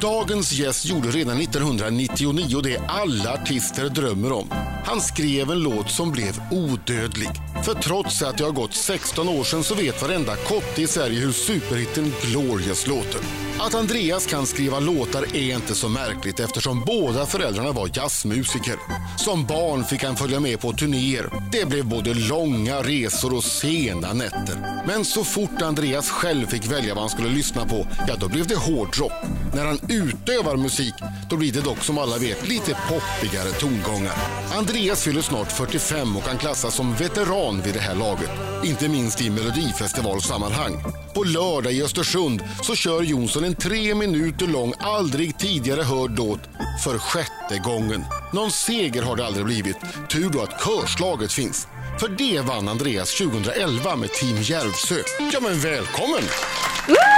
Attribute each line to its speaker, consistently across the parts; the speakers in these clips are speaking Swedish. Speaker 1: Dagens gäst gjorde redan 1999 det alla artister drömmer om. Han skrev en låt som blev odödlig. För trots att det har gått 16 år sedan så vet varenda kotte i Sverige hur superhitten Glorious låter. Att Andreas kan skriva låtar är inte så märkligt eftersom båda föräldrarna var jazzmusiker. Som barn fick han följa med på turnéer. Det blev både långa resor och sena nätter. Men så fort Andreas själv fick välja vad han skulle lyssna på, ja då blev det hårdrock. När han utövar musik, då blir det dock som alla vet lite poppigare tongångar. Andreas fyller snart 45 och kan klassas som veteran vid det här laget. Inte minst i melodifestivalsammanhang. På lördag i Östersund så kör Jonsson en tre minuter lång, aldrig tidigare hörd låt för sjätte gången. Någon seger har det aldrig blivit. Tur då att körslaget finns. För det vann Andreas 2011 med Team Järvsö. Ja men välkommen!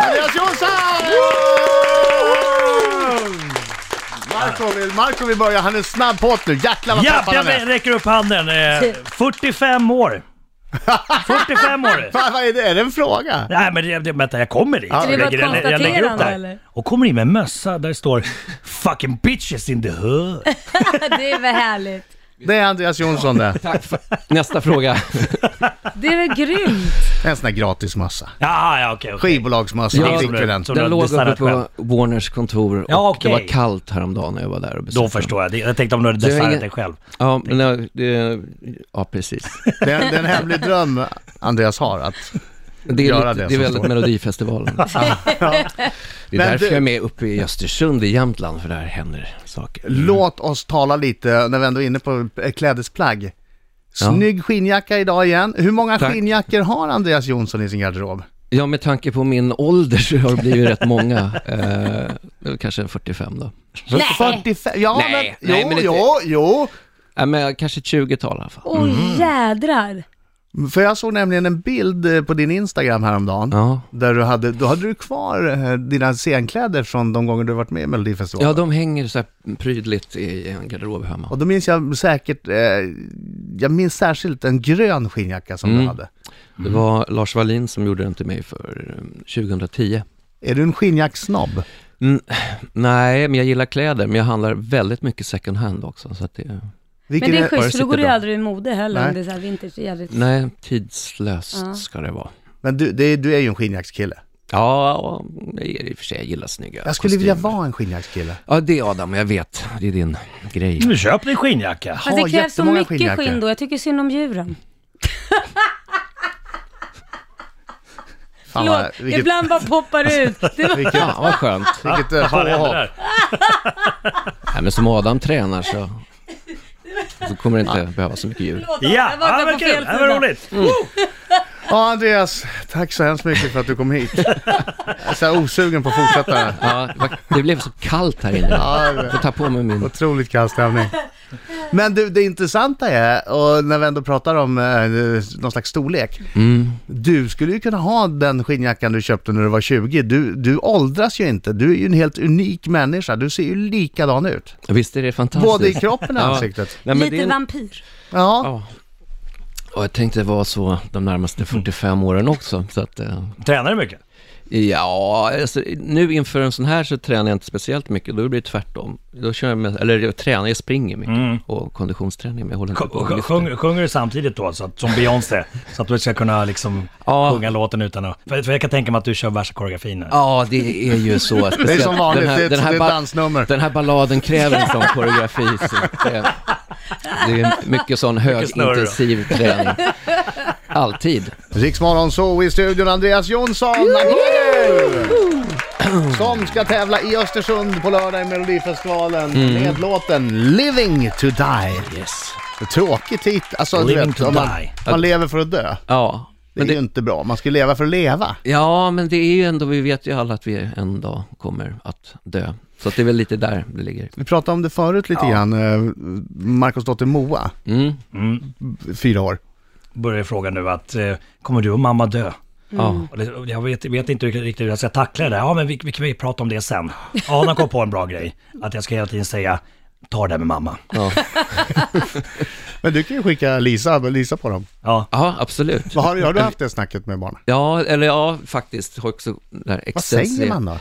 Speaker 2: Andreas Jonsson! Marco vill, Marco vill börja, han är snabb på nu. Jäklar vad
Speaker 3: Ja,
Speaker 2: peppad
Speaker 3: jag
Speaker 2: han är.
Speaker 3: räcker upp handen. Eh, 45 år. 45 år.
Speaker 2: Fan, vad är det? Är det en fråga?
Speaker 3: Nej men det, det, vänta, jag kommer dit.
Speaker 4: Ska det
Speaker 3: jag,
Speaker 4: vara ett
Speaker 3: lägger, jag, jag lägger upp
Speaker 4: konstaterande,
Speaker 3: det här.
Speaker 4: eller?
Speaker 3: Och kommer in med en mössa där det står “Fucking bitches in the hood”.
Speaker 4: Det är väl härligt.
Speaker 2: Det är Andreas Jonsson det.
Speaker 5: Tack för... Nästa fråga.
Speaker 4: Det är väl grymt.
Speaker 2: En sån där gratismössa.
Speaker 3: Ja, ja okej. okej.
Speaker 2: Skivbolagsmössa,
Speaker 5: Ja,
Speaker 2: han fick ju den.
Speaker 3: som du har
Speaker 5: Den låg uppe
Speaker 3: designat själv.
Speaker 5: på Warners kontor och
Speaker 3: Ja, okej.
Speaker 5: det var kallt häromdagen när jag var där och besökte
Speaker 3: Då förstår jag. Det- Jag tänkte om du hade designat
Speaker 5: ingen-
Speaker 3: dig själv.
Speaker 5: dem. Ja, men, jag- det, ja precis.
Speaker 2: Det är, en- det är en hemlig dröm Andreas har. Att,
Speaker 5: Det
Speaker 2: Göra
Speaker 5: är,
Speaker 2: det
Speaker 5: lite, det är
Speaker 2: som
Speaker 5: väldigt
Speaker 2: står.
Speaker 5: Melodifestivalen. Det är
Speaker 2: Men
Speaker 5: därför
Speaker 2: du-
Speaker 5: jag är med uppe i Östersund i Jämtland, för där händer saker.
Speaker 2: Låt oss tala lite, när vi ändå är inne på eh, klädesplagg. Snygg skinnjacka idag igen. Hur många
Speaker 5: Tack.
Speaker 2: skinnjackor har Andreas Jonsson i sin garderob?
Speaker 5: Ja, med tanke på min ålder så har det blivit rätt många. Eh, det var kanske 45 då.
Speaker 4: Nej.
Speaker 2: 45? Ja,
Speaker 5: Nej,
Speaker 2: men,
Speaker 5: nej,
Speaker 2: jo,
Speaker 5: men det-
Speaker 2: jo, jo.
Speaker 5: Nej, men kanske ett 20-tal i alla fall.
Speaker 4: Åh jädrar.
Speaker 2: För jag såg nämligen en bild eh, på din Instagram häromdagen.
Speaker 5: Ja.
Speaker 2: Där du hade, då hade du kvar eh, dina scenkläder från de gånger du varit med i Melodifestivalen.
Speaker 5: ja, de hänger så här prydligt i en garderob hemma.
Speaker 2: Och då minns jag säkert, eh, jag minns särskilt en grön skinnjacka som du
Speaker 5: Mm.
Speaker 2: hade.
Speaker 5: Det var Lars Wallin som gjorde den till mig för eh, 2010.
Speaker 2: Är du en skinnjacksnobb?
Speaker 5: Mm, nej, men jag gillar kläder, men jag handlar väldigt mycket second hand också. Så att det,
Speaker 4: Men det är
Speaker 5: bara
Speaker 4: schysst, för då
Speaker 5: sitter
Speaker 4: går det ju
Speaker 5: bra.
Speaker 4: aldrig i mode heller
Speaker 2: Nej.
Speaker 4: om det är såhär vintage. Jävligt.
Speaker 5: nej, tidslöst
Speaker 4: Ja.
Speaker 5: ska det vara.
Speaker 2: men du, det, är- du är ju en skinnjackskille.
Speaker 5: Ja, och jag är i och för sig, jag gillar snygga
Speaker 2: Jag skulle vilja
Speaker 5: kostymer.
Speaker 2: vara en skinnjackskille.
Speaker 5: Ja, det är Adam, jag vet. Det är din grej.
Speaker 2: Mm.
Speaker 3: Nu köp dig en skinnjacka.
Speaker 4: Fast
Speaker 2: Ha
Speaker 4: det krävs så
Speaker 2: jättemånga
Speaker 4: mycket
Speaker 2: skinnjackor.
Speaker 4: skinn då. Jag tycker synd om djuren.
Speaker 2: Fan, vad-
Speaker 4: Förlåt,
Speaker 2: vilket,
Speaker 4: ibland bara poppar det ut. Det var...
Speaker 2: vilket,
Speaker 5: Ja, vad skönt.
Speaker 2: vilket eh,
Speaker 3: Vad hände
Speaker 2: påhopp.
Speaker 3: där?
Speaker 5: Nej, men som Adam tränar så, så kommer det inte behöva så mycket djur.
Speaker 4: Förlåt,
Speaker 3: Ja,
Speaker 4: jag
Speaker 3: ja,
Speaker 4: vaknade
Speaker 3: vad
Speaker 4: på
Speaker 3: kul.
Speaker 4: fel
Speaker 3: Det var
Speaker 4: sida.
Speaker 3: roligt.
Speaker 2: Ja, Andreas, tack så hemskt mycket för att du kom hit. Jag är så här osugen på att fortsätta.
Speaker 5: Ja, det var- det blev så kallt här inne.
Speaker 2: Ja, det-
Speaker 5: Jag får ta på mig min...
Speaker 2: Otroligt kall stämning. Men du, det intressanta är, och när vi ändå pratar om eh, någon slags storlek.
Speaker 5: Mm.
Speaker 2: Du skulle ju kunna ha den skinnjackan du köpte när du var 20. Du, du åldras ju inte. Du är ju en helt unik människa. Du ser ju likadan ut.
Speaker 5: Visst är det fantastiskt?
Speaker 2: Både i kroppen och
Speaker 5: Ja.
Speaker 2: ansiktet.
Speaker 5: Nej, men det
Speaker 4: Lite
Speaker 5: är...
Speaker 4: vampyr.
Speaker 2: Ja,
Speaker 5: Ja. Och jag tänkte vara så de närmaste
Speaker 2: Mm.
Speaker 5: 45 åren också. Så att, eh,
Speaker 3: Tränar du mycket?
Speaker 5: ja, alltså, nu inför en sån här så tränar jag inte speciellt mycket. Då blir det tvärtom. Då kör jag med, eller jag tränar, jag springer mycket.
Speaker 2: Mm.
Speaker 5: Och konditionsträning, men jag håller inte på och
Speaker 3: Sj-
Speaker 5: lyfter.
Speaker 3: Sjunger, sjunger du samtidigt då, så att, som Beyoncé? Så att du ska kunna liksom
Speaker 5: Ja.
Speaker 3: sjunga låten utan att... För, för jag kan tänka mig att du kör värsta koreografin här.
Speaker 5: Ja, det är ju så.
Speaker 2: det är
Speaker 5: speciellt.
Speaker 2: som vanligt.
Speaker 5: Den här-
Speaker 2: det är ett,
Speaker 5: den här
Speaker 2: det är
Speaker 5: ba-
Speaker 2: ett dansnummer.
Speaker 5: Den här balladen kräver en sån koreografi. Så det, det är mycket sån
Speaker 3: snurr då.
Speaker 5: högintensiv träning. Alltid.
Speaker 2: Riksmorgon så i studion Andreas Jonsson. Applåder! Som ska tävla i Östersund på lördag i Melodifestivalen med låten Living to Die.
Speaker 5: Mm. Yes.
Speaker 2: Tråkig titel. Alltså, du
Speaker 3: Living
Speaker 2: vet,
Speaker 3: to
Speaker 2: om man,
Speaker 3: die.
Speaker 2: man lever för att dö.
Speaker 5: Ja.
Speaker 2: Det är
Speaker 5: Men det,
Speaker 2: ju inte bra. Man ska ju leva för att leva.
Speaker 5: ja, men det är ju ändå, vi vet ju alla att vi en dag kommer att dö. Så att det är väl lite där det ligger.
Speaker 2: Vi pratade om det förut lite grann. eh, Marcos dotter Moa,
Speaker 5: Mm.
Speaker 2: fyra år.
Speaker 3: Börjar fråga nu att, eh, kommer du och mamma dö?
Speaker 5: Ja.
Speaker 3: Och det- och Jag vet, vet inte riktigt hur jag ska tackla det där. Ja, men vi, vi kan ju prata om det sen. Adam kom på en bra grej. Att jag ska hela tiden säga, ta det där med mamma.
Speaker 5: Ja.
Speaker 2: Men du kan ju skicka Lisa, Lisa på dem.
Speaker 3: Ja,
Speaker 5: ja, absolut.
Speaker 2: Vad Har, har du haft det snacket med barnen?
Speaker 5: Ja, eller ja, faktiskt. Har också där
Speaker 2: Vad säger man då?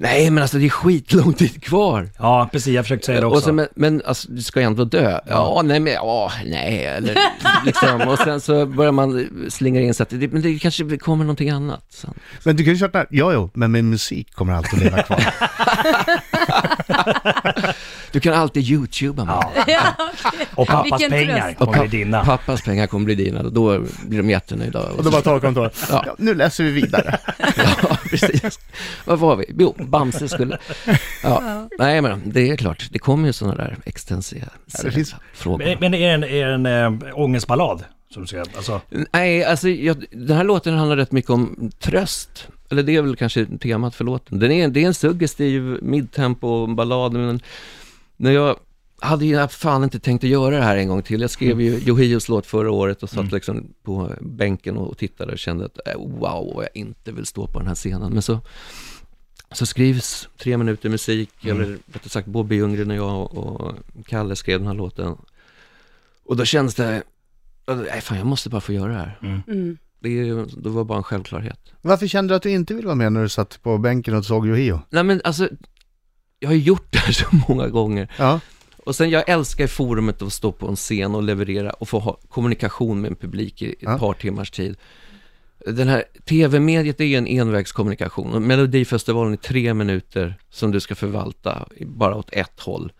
Speaker 5: Nej, men alltså det är skitlång tid kvar.
Speaker 3: Ja, precis. Jag försökte säga det
Speaker 5: Och
Speaker 3: också.
Speaker 5: sen, men, men alltså, du ska jag ändå dö? Ja, nej, men ja, nej, eller liksom. Och sen så börjar man slingra in sig att det, men det kanske kommer någonting annat sen.
Speaker 2: Men du kan ju köra ja, jo, men min musik kommer alltid att leva kvar.
Speaker 5: Du kan alltid youtuba mig.
Speaker 3: Ja.
Speaker 4: Ja.
Speaker 3: Och pappas
Speaker 4: Vilken
Speaker 3: pengar
Speaker 4: tröst.
Speaker 5: Och
Speaker 3: kommer
Speaker 5: pa-
Speaker 3: bli dina.
Speaker 5: Pappas pengar kommer bli dina, och då blir de jättenöjda.
Speaker 2: Och då bara torkar de tårar. Ja, nu läser vi vidare.
Speaker 5: Ja, precis. Var var vi? Jo, Bamse skulle... Ja. Nej, men det är klart, det kommer ju sådana där existentiella
Speaker 2: det finns-
Speaker 5: frågor.
Speaker 3: Men, men är det en, är det en äh, ångestballad? Som du säger, alltså,
Speaker 5: Nej, alltså jag, den här låten handlar rätt mycket om tröst. Eller det är väl kanske temat för låten. Den är, det är en suggestiv midtempo ballad, men när jag hade ju fan inte tänkt att göra det här en gång till. Jag skrev ju Johios låt förra året och satt liksom på bänken och tittade och kände att eh, wow, vad jag inte vill stå på den här scenen. Men så, så skrivs tre minuter musik, eller rättare sagt Bobby Ljunggren och jag och Kalle skrev den här låten. Och då kändes det, nej fan jag måste bara få göra det här.
Speaker 4: Mm.
Speaker 5: Det, är ju- det var bara en självklarhet.
Speaker 2: Varför kände du att du inte ville vara med när du satt på bänken och såg Yohio?
Speaker 5: Nej men alltså, jag har ju gjort det här så många gånger.
Speaker 2: Ja.
Speaker 5: Och sen jag älskar forumet att stå på en scen och leverera och få ha kommunikation med en publik i ett
Speaker 2: Ja.
Speaker 5: par timmars tid. Den här tv-mediet är ju en envägskommunikation och Melodifestivalen är tre minuter som du ska förvalta i- bara åt ett håll.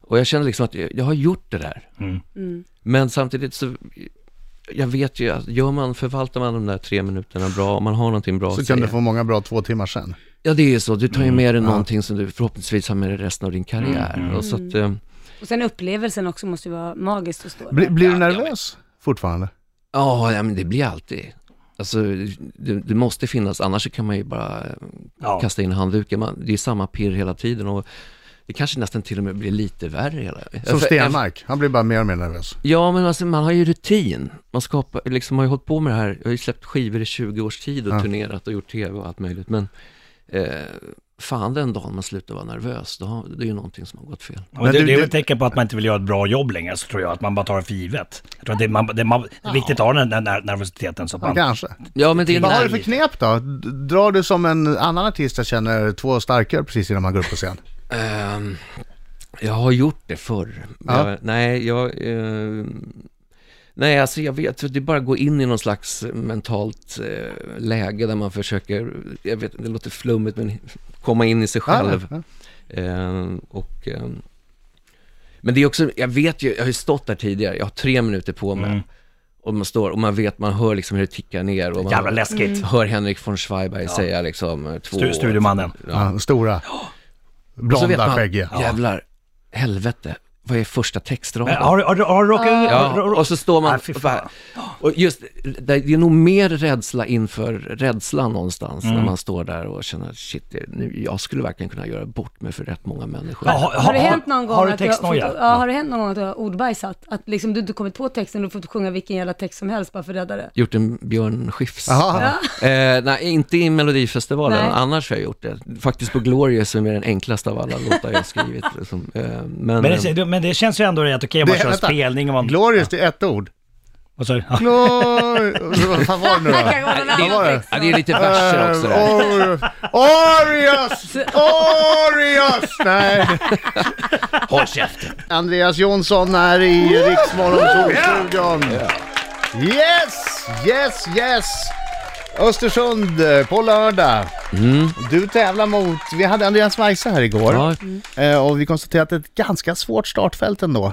Speaker 5: Och jag känner liksom att jag, jag har gjort det där.
Speaker 4: Mm.
Speaker 5: Men samtidigt så, jag vet ju att gör man, förvaltar man de där tre minuterna bra, om man har någonting bra
Speaker 2: Så
Speaker 5: att
Speaker 2: kan
Speaker 5: säga.
Speaker 2: du få många bra två timmar sen.
Speaker 5: Ja, det är ju så. Du tar ju med dig
Speaker 2: Mm,
Speaker 5: någonting som du förhoppningsvis har med dig resten av din karriär. Och så
Speaker 2: mm.
Speaker 5: att, eh,
Speaker 4: Och sen upplevelsen också måste ju vara magisk att stå där.
Speaker 2: Bli, blir du
Speaker 5: Ja, jag
Speaker 2: nervös fortfarande?
Speaker 5: ja, ja, men det blir alltid. Alltså, det, det måste finnas, annars så kan man ju bara eh,
Speaker 3: ja.
Speaker 5: kasta in handduken. Man, det är samma pirr hela tiden och det kanske nästan till och med blir lite värre. Hela.
Speaker 2: Som
Speaker 5: För-
Speaker 2: Stenmark, han blir bara mer och mer nervös.
Speaker 5: Ja, men alltså, man har ju rutin. Man skapar, liksom, har ju hållit på med det här. Jag har ju släppt skivor i 20 års tid och
Speaker 2: Ja.
Speaker 5: turnerat och gjort tv och allt möjligt. Men eh, fan, den dagen man slutar vara nervös, då, har- det är ju någonting som har gått fel.
Speaker 3: Men
Speaker 2: Men
Speaker 3: det,
Speaker 2: du-
Speaker 3: det är
Speaker 2: du-
Speaker 3: väl ett tecken på att man inte vill göra ett bra jobb längre, så tror jag. Att man bara tar det för givet. Jag tror att det, man, det, man, det är viktigt att ha den där ner- nervositeten. Så att
Speaker 2: Ja,
Speaker 3: man,
Speaker 2: kanske.
Speaker 5: Ja, men det är
Speaker 2: Vad har du
Speaker 5: nerv-
Speaker 2: för knep då? D- Drar du som en annan artist jag känner två starkare precis innan man går upp på scen?
Speaker 5: Ehm, jag har gjort det förr.
Speaker 2: Ja.
Speaker 5: Jag, nej, jag... ehm, nej, alltså jag vet att det är bara att gå in i någon slags mentalt eh, läge där man försöker, jag vet, det låter flummigt, men komma in i sig själv.
Speaker 2: Ja, ja.
Speaker 5: Ehm, och, ehm, men det är också, jag vet ju, jag har ju stått där tidigare, jag har tre minuter på mig.
Speaker 3: Mm.
Speaker 5: Och man står och man vet, man hör liksom hur det tickar ner. Och man
Speaker 3: jävla läskigt.
Speaker 5: Hör Henrik von Schweiberg säga liksom två...
Speaker 3: Stu, studiomannen.
Speaker 2: Ja, stora.
Speaker 5: Och så vet
Speaker 2: Blonda,
Speaker 5: man,
Speaker 2: skäggiga.
Speaker 5: Jävlar, helvete, vad är första textraden?
Speaker 3: Men, har, du- har, du- har du råkat...
Speaker 5: Ja, och så står man...
Speaker 3: Nej, fy fan.
Speaker 5: och just, det det är nog mer rädsla inför rädslan någonstans, när man står där och känner shit, det- nu, jag skulle verkligen kunna göra bort mig för rätt många människor.
Speaker 3: Ja, har,
Speaker 4: Har det hänt någon gång
Speaker 3: Har du
Speaker 4: att du har,
Speaker 3: textnoja?
Speaker 4: fått, ja, har det hänt någon gång att du har ordbajsat? Att liksom du inte kommit på texten och fått sjunga vilken jävla text som helst bara för att rädda det?
Speaker 5: Gjort en Björn Skifs.
Speaker 2: Jaha.
Speaker 5: Eh, nej, inte i Melodifestivalen,
Speaker 4: Nej.
Speaker 5: annars har jag gjort det. Faktiskt på Glorious, som är den enklaste av alla låtar jag har skrivit. Liksom. Eh, men,
Speaker 3: Men det, men det känns ju ändå rätt okej om man
Speaker 2: Det-
Speaker 3: kör
Speaker 2: vänta.
Speaker 3: spelning och man...
Speaker 2: Glorious, det är ett ord.
Speaker 3: Vad sa du? Ja.
Speaker 2: Glor... Vad fan var det nu då?
Speaker 5: det,
Speaker 2: Vad var det?
Speaker 5: ja, det är lite
Speaker 2: Äh,
Speaker 5: verser också där.
Speaker 2: Orios! Orios! Orios! Nej.
Speaker 5: Håll käften!
Speaker 2: Andreas Jonsson är i Riksmorgonsolstudion. Yes, yes, yes! Östersund eh, på lördag. Du tävlar mot, vi hade Andreas Weise här igår
Speaker 5: Mm. Ja,
Speaker 2: eh, och vi konstaterade att det är ett ganska svårt startfält ändå.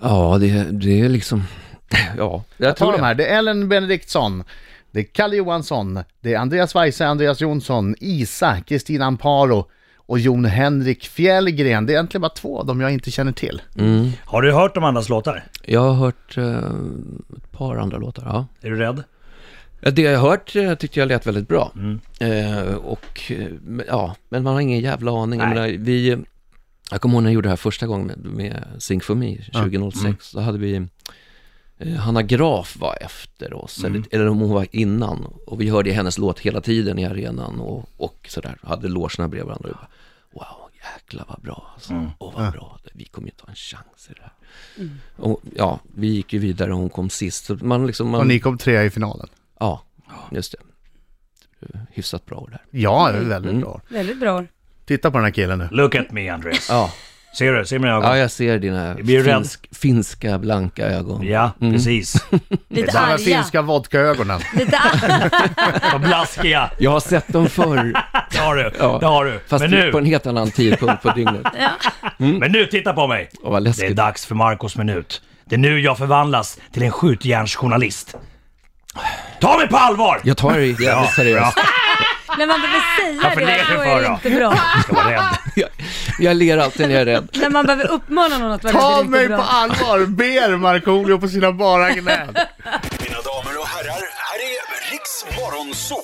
Speaker 5: ja det, det är liksom... Oh, Ja, jag,
Speaker 2: Ta
Speaker 5: tror
Speaker 2: de
Speaker 5: det.
Speaker 2: här, det är Ellen Benediktsson, det är Kalle Johansson, det är Andreas Weise, Andreas Jonsson, Isa, Kristina Amparo och Jon Henrik Fjällgren. Det är egentligen bara två av dem jag inte känner till.
Speaker 3: Har du hört om andras låtar?
Speaker 5: Jag har hört eh, ett par andra låtar, ja.
Speaker 3: Är du rädd?
Speaker 5: Ja, Det jag har hört eh, tyckte jag lät väldigt bra. Eh, och, eh, men- ja, men man har ingen jävla aning. Jag,
Speaker 3: Nej.
Speaker 5: menar, vi, jag kommer ihåg när jag gjorde det här första gången med, med Sing for me 2006. Då hade vi eh, Hanna Graf var efter oss, eller, eller om hon var innan. Och vi hörde hennes låt hela tiden i arenan och, och sådär. Hade logerna bredvid varandra. Och bara, wow, jäklar vad bra alltså. Åh vad bra, vi kommer ju inte ha en chans i det här. Och, ja, vi gick ju vidare och hon kom sist. Så man liksom, man,
Speaker 2: Och ni kom trea i finalen.
Speaker 5: Ja, just det. Hyfsat bra år där.
Speaker 2: Ja, det är väldigt bra.
Speaker 4: Väldigt bra.
Speaker 2: Titta på den här killen nu.
Speaker 3: Look at me Andreas.
Speaker 5: Ja.
Speaker 3: Ser du? Ser mina ögon?
Speaker 5: ja,
Speaker 3: Ja,
Speaker 5: jag ser dina
Speaker 3: Jag blir rädd.
Speaker 5: finsk, finska blanka ögon.
Speaker 3: precis.
Speaker 2: Det
Speaker 4: Lite
Speaker 2: här
Speaker 4: arga.
Speaker 2: finska vodkaögonen.
Speaker 4: Lite arga.
Speaker 3: De blaskiga.
Speaker 5: Jag har sett dem förr,
Speaker 3: Det har du.
Speaker 5: Ja.
Speaker 3: Det har du.
Speaker 5: fast
Speaker 3: men, nu,
Speaker 5: på en helt annan tidpunkt på dygnet.
Speaker 3: men nu, titta på mig.
Speaker 5: Åh, vad
Speaker 3: Det är
Speaker 5: läskigt.
Speaker 3: dags för Marcos minut. Det är nu jag förvandlas till en skjutjärnsjournalist. Ta mig på allvar!
Speaker 5: Jag tar det jävligt seriöst.
Speaker 4: När man behöver säga
Speaker 3: Varför ler
Speaker 4: det,
Speaker 3: du
Speaker 4: då
Speaker 3: för
Speaker 4: är
Speaker 3: då?
Speaker 4: det inte bra.
Speaker 3: Jag ska vara rädd.
Speaker 5: Jag, jag ler alltid när jag är rädd.
Speaker 4: När man behöver uppmana någon att vara
Speaker 2: Ta
Speaker 4: lite
Speaker 2: mig
Speaker 4: bra.
Speaker 2: på allvar, ber Markoolio på sina bara knän.
Speaker 6: Mina damer och herrar, här är Riks Morgonzoo!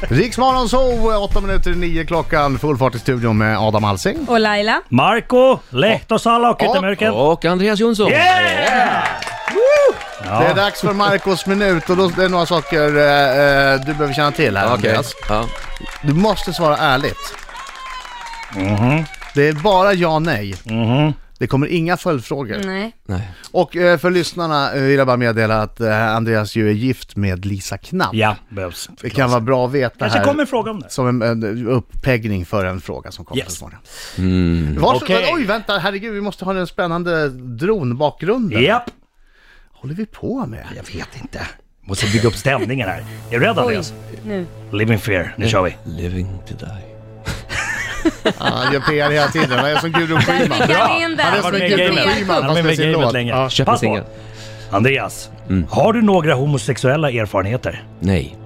Speaker 2: Riksmorgon så 8 minuter i 9 klockan, full fart i studion med Adam Alsing.
Speaker 4: Och Laila.
Speaker 3: Marco, Lehtosalo och Kyttemörken.
Speaker 5: Och Andreas Jonsson.
Speaker 3: Yeah!
Speaker 2: Det är dags för Marcos minut och då det är några saker eh, eh, du behöver känna till här
Speaker 5: Okej.
Speaker 2: Andreas.
Speaker 5: Ja.
Speaker 2: Du måste svara ärligt.
Speaker 3: Mm-hmm.
Speaker 2: Det är bara ja nej. Det kommer inga följdfrågor.
Speaker 4: Nej.
Speaker 5: Nej.
Speaker 2: Och eh, för lyssnarna eh, vill jag bara meddela att eh, Andreas ju är gift med Lisa Knapp.
Speaker 3: Ja, behövs.
Speaker 2: Det kan vara bra att veta
Speaker 3: Kanske
Speaker 2: här.
Speaker 3: kommer en fråga om det.
Speaker 2: Som en, en uppeggning för en fråga som kommer
Speaker 3: Yes.
Speaker 2: så småningom. Varsågod.
Speaker 3: Okej.
Speaker 2: Oj, vänta, herregud, vi måste ha den spännande dronbakgrunden.
Speaker 3: Japp.
Speaker 2: håller vi på med?
Speaker 3: Jag vet inte. Måste bygga upp stämningen här. Är du rädd Andreas?
Speaker 4: Nu.
Speaker 3: Live in fear. Nu kör vi.
Speaker 5: Living to die.
Speaker 2: Ja, Han gör PR hela tiden, han är som Gudrun
Speaker 4: Där
Speaker 2: Schyman.
Speaker 4: fick han in
Speaker 2: Han är
Speaker 4: den.
Speaker 2: som
Speaker 3: varit
Speaker 2: en Gudrun Schyman fast med
Speaker 3: med i gamet. Han har varit med i
Speaker 2: sin
Speaker 3: gamet
Speaker 2: låt.
Speaker 3: länge.
Speaker 2: Ja.
Speaker 5: Köp en
Speaker 3: Pass på.
Speaker 5: singel.
Speaker 3: Andreas, har du några homosexuella erfarenheter?
Speaker 5: Nej.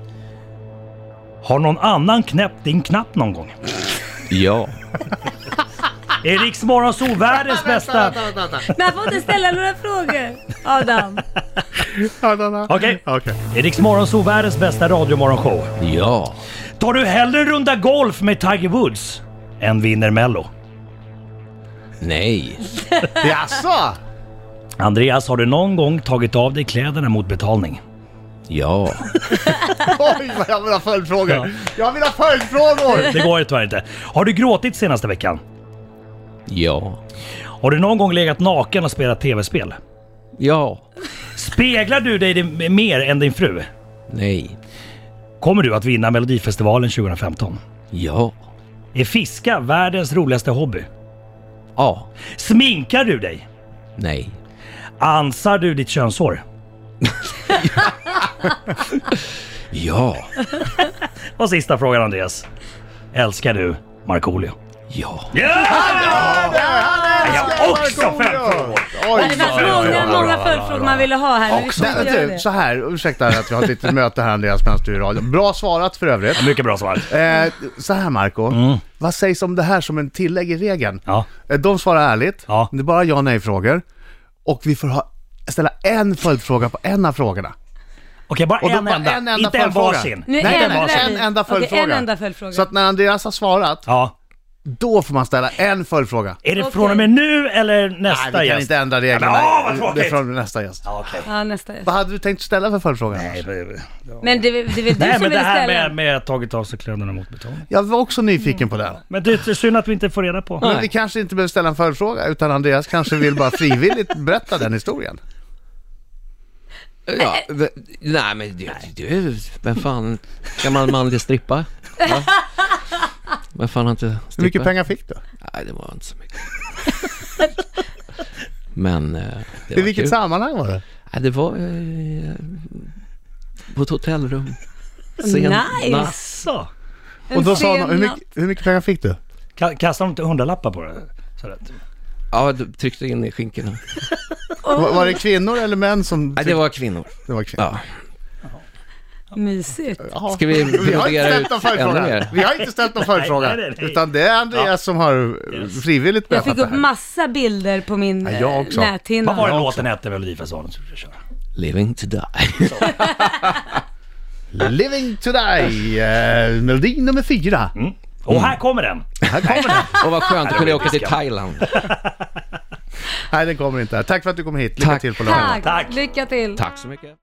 Speaker 3: Har någon annan knäppt din knapp någon gång?
Speaker 5: Ja.
Speaker 3: Är Riks Morgonzoo världens bästa?
Speaker 4: Men han får inte ställa några frågor. Adam.
Speaker 2: Ja, da, da.
Speaker 3: Okej.
Speaker 2: Okej.
Speaker 3: Är Riks Morgonzoo världens bästa radiomorgonshow?
Speaker 5: Ja.
Speaker 3: Tar du hellre en runda golf med Tiger Woods än vinner Mello?
Speaker 5: Nej.
Speaker 2: Jaså?
Speaker 3: Andreas, har du någon gång tagit av dig kläderna mot betalning?
Speaker 5: Ja.
Speaker 2: Oj, vad jag vill ha följdfrågor! Jag vill ha följdfrågor!
Speaker 3: Det går ju tyvärr inte. Har du gråtit senaste veckan?
Speaker 5: Ja.
Speaker 3: Har du någon gång legat naken och spelat tv-spel?
Speaker 5: Ja.
Speaker 3: Speglar du dig di- mer än din fru?
Speaker 5: Nej.
Speaker 3: Kommer du att vinna Melodifestivalen 2015?
Speaker 5: Ja.
Speaker 3: Är fiska världens roligaste hobby?
Speaker 5: Ja.
Speaker 3: Sminkar du dig?
Speaker 5: Nej.
Speaker 3: Ansar du ditt könshår?
Speaker 5: Ja.
Speaker 3: Och sista frågan Andreas. Älskar du Markoolio?
Speaker 5: Ja.
Speaker 3: Jag har också följdfrågor.
Speaker 4: Ja, Det fanns många, många följdfrågor man ville ha här. Men vi får
Speaker 2: Nej,
Speaker 4: inte
Speaker 2: men
Speaker 4: göra
Speaker 2: du,
Speaker 4: det.
Speaker 2: så här, ursäkta att vi har ett litet möte här Andreas medan du är i radion. Bra svarat för övrigt.
Speaker 3: Mycket bra svar.
Speaker 2: Eh, så här Marco, vad sägs om det här som en tillägg i regeln?
Speaker 3: Mm. Ja.
Speaker 2: Eh, De svarar ärligt,
Speaker 3: Ja.
Speaker 2: det är bara ja nej frågor. Och vi får ha, ställa en följdfråga på en av frågorna.
Speaker 3: Okej, bara
Speaker 2: Och då
Speaker 3: en
Speaker 2: bara
Speaker 3: enda.
Speaker 2: en enda
Speaker 3: Inte en
Speaker 2: följdfråga.
Speaker 3: varsin.
Speaker 4: Nu
Speaker 2: Nej,
Speaker 4: ändrar
Speaker 2: nej,
Speaker 4: vi.
Speaker 2: en enda
Speaker 4: Okej,
Speaker 2: följdfråga.
Speaker 4: en enda följdfråga.
Speaker 2: Så att när Andreas har svarat,
Speaker 3: Ja.
Speaker 2: då får man ställa en följdfråga.
Speaker 3: Är det
Speaker 4: Okej.
Speaker 3: från och med nu eller nästa
Speaker 2: Nej, vi kan
Speaker 3: gäst?
Speaker 2: inte ändra reglerna.
Speaker 3: Ja, men, åh, vad
Speaker 2: det är
Speaker 3: tråkigt.
Speaker 2: från nästa gäst.
Speaker 3: Ja, okej.
Speaker 4: Ja, nästa.
Speaker 2: Vad hade du tänkt ställa för följdfråga?
Speaker 3: Nej, det- det-
Speaker 4: Men det, det, det, det,
Speaker 3: Nej,
Speaker 4: du som
Speaker 3: men det
Speaker 4: ville
Speaker 3: här
Speaker 4: ställa.
Speaker 3: med, med att tagit av sig kläderna mot betalning.
Speaker 2: Jag var också nyfiken på den.
Speaker 3: Men det är synd att vi inte får reda på.
Speaker 2: Men vi kanske inte behöver ställa en följdfråga utan Andreas kanske vill bara frivilligt berätta den historien.
Speaker 5: ja. v- Nej men du, du, vem fan, gammal manlig strippa? Va? Vem fan har inte strippa?
Speaker 2: Hur mycket pengar fick du?
Speaker 5: Nej det var inte så mycket. Men eh, det
Speaker 2: I
Speaker 5: var
Speaker 2: vilket
Speaker 5: kul.
Speaker 2: sammanhang var det?
Speaker 5: Nej, det var eh, på ett hotellrum. Sen
Speaker 4: Nice.
Speaker 5: natt.
Speaker 3: Asså.
Speaker 4: En
Speaker 2: Och då sa
Speaker 4: sen
Speaker 2: han, hur
Speaker 4: natt.
Speaker 2: mycket, hur mycket pengar fick du?
Speaker 3: Ka- Kastar de inte hundralappar på det? Så att-
Speaker 5: Ja, du tryckte in i skinkorna.
Speaker 2: Var, var det kvinnor eller män som...
Speaker 5: Nej, det var kvinnor.
Speaker 2: det var kvinnor.
Speaker 5: Ja.
Speaker 4: Mysigt.
Speaker 2: Jaha.
Speaker 5: Ska vi
Speaker 2: Vi har inte
Speaker 5: brodera
Speaker 2: ställt
Speaker 5: ut
Speaker 2: någon
Speaker 5: ännu
Speaker 2: följdfråga.
Speaker 5: mer?
Speaker 2: Vi har inte ställt någon följdfråga.
Speaker 3: Nej, nej, nej.
Speaker 2: Utan det är Andreas som har frivilligt
Speaker 4: Jag
Speaker 2: berättat
Speaker 4: fick upp
Speaker 2: det här.
Speaker 4: massa bilder på min
Speaker 2: Ja, jag
Speaker 4: eh,
Speaker 2: också.
Speaker 4: näthinna.
Speaker 3: Vad var det låten hette, Melodifestivalen? som vi kör?
Speaker 5: Living to die.
Speaker 2: Living Today, eh, melodi nummer fyra.
Speaker 3: Och här kommer den!
Speaker 2: Här kommer den.
Speaker 5: Och vad skönt, då kunde jag åka till Thailand.
Speaker 2: Nej, den kommer inte. Tack för att du kom hit. Lycka
Speaker 5: Tack.
Speaker 2: till på lördagen.
Speaker 4: Tack.
Speaker 3: Tack.
Speaker 4: Lycka till.
Speaker 5: Tack så mycket.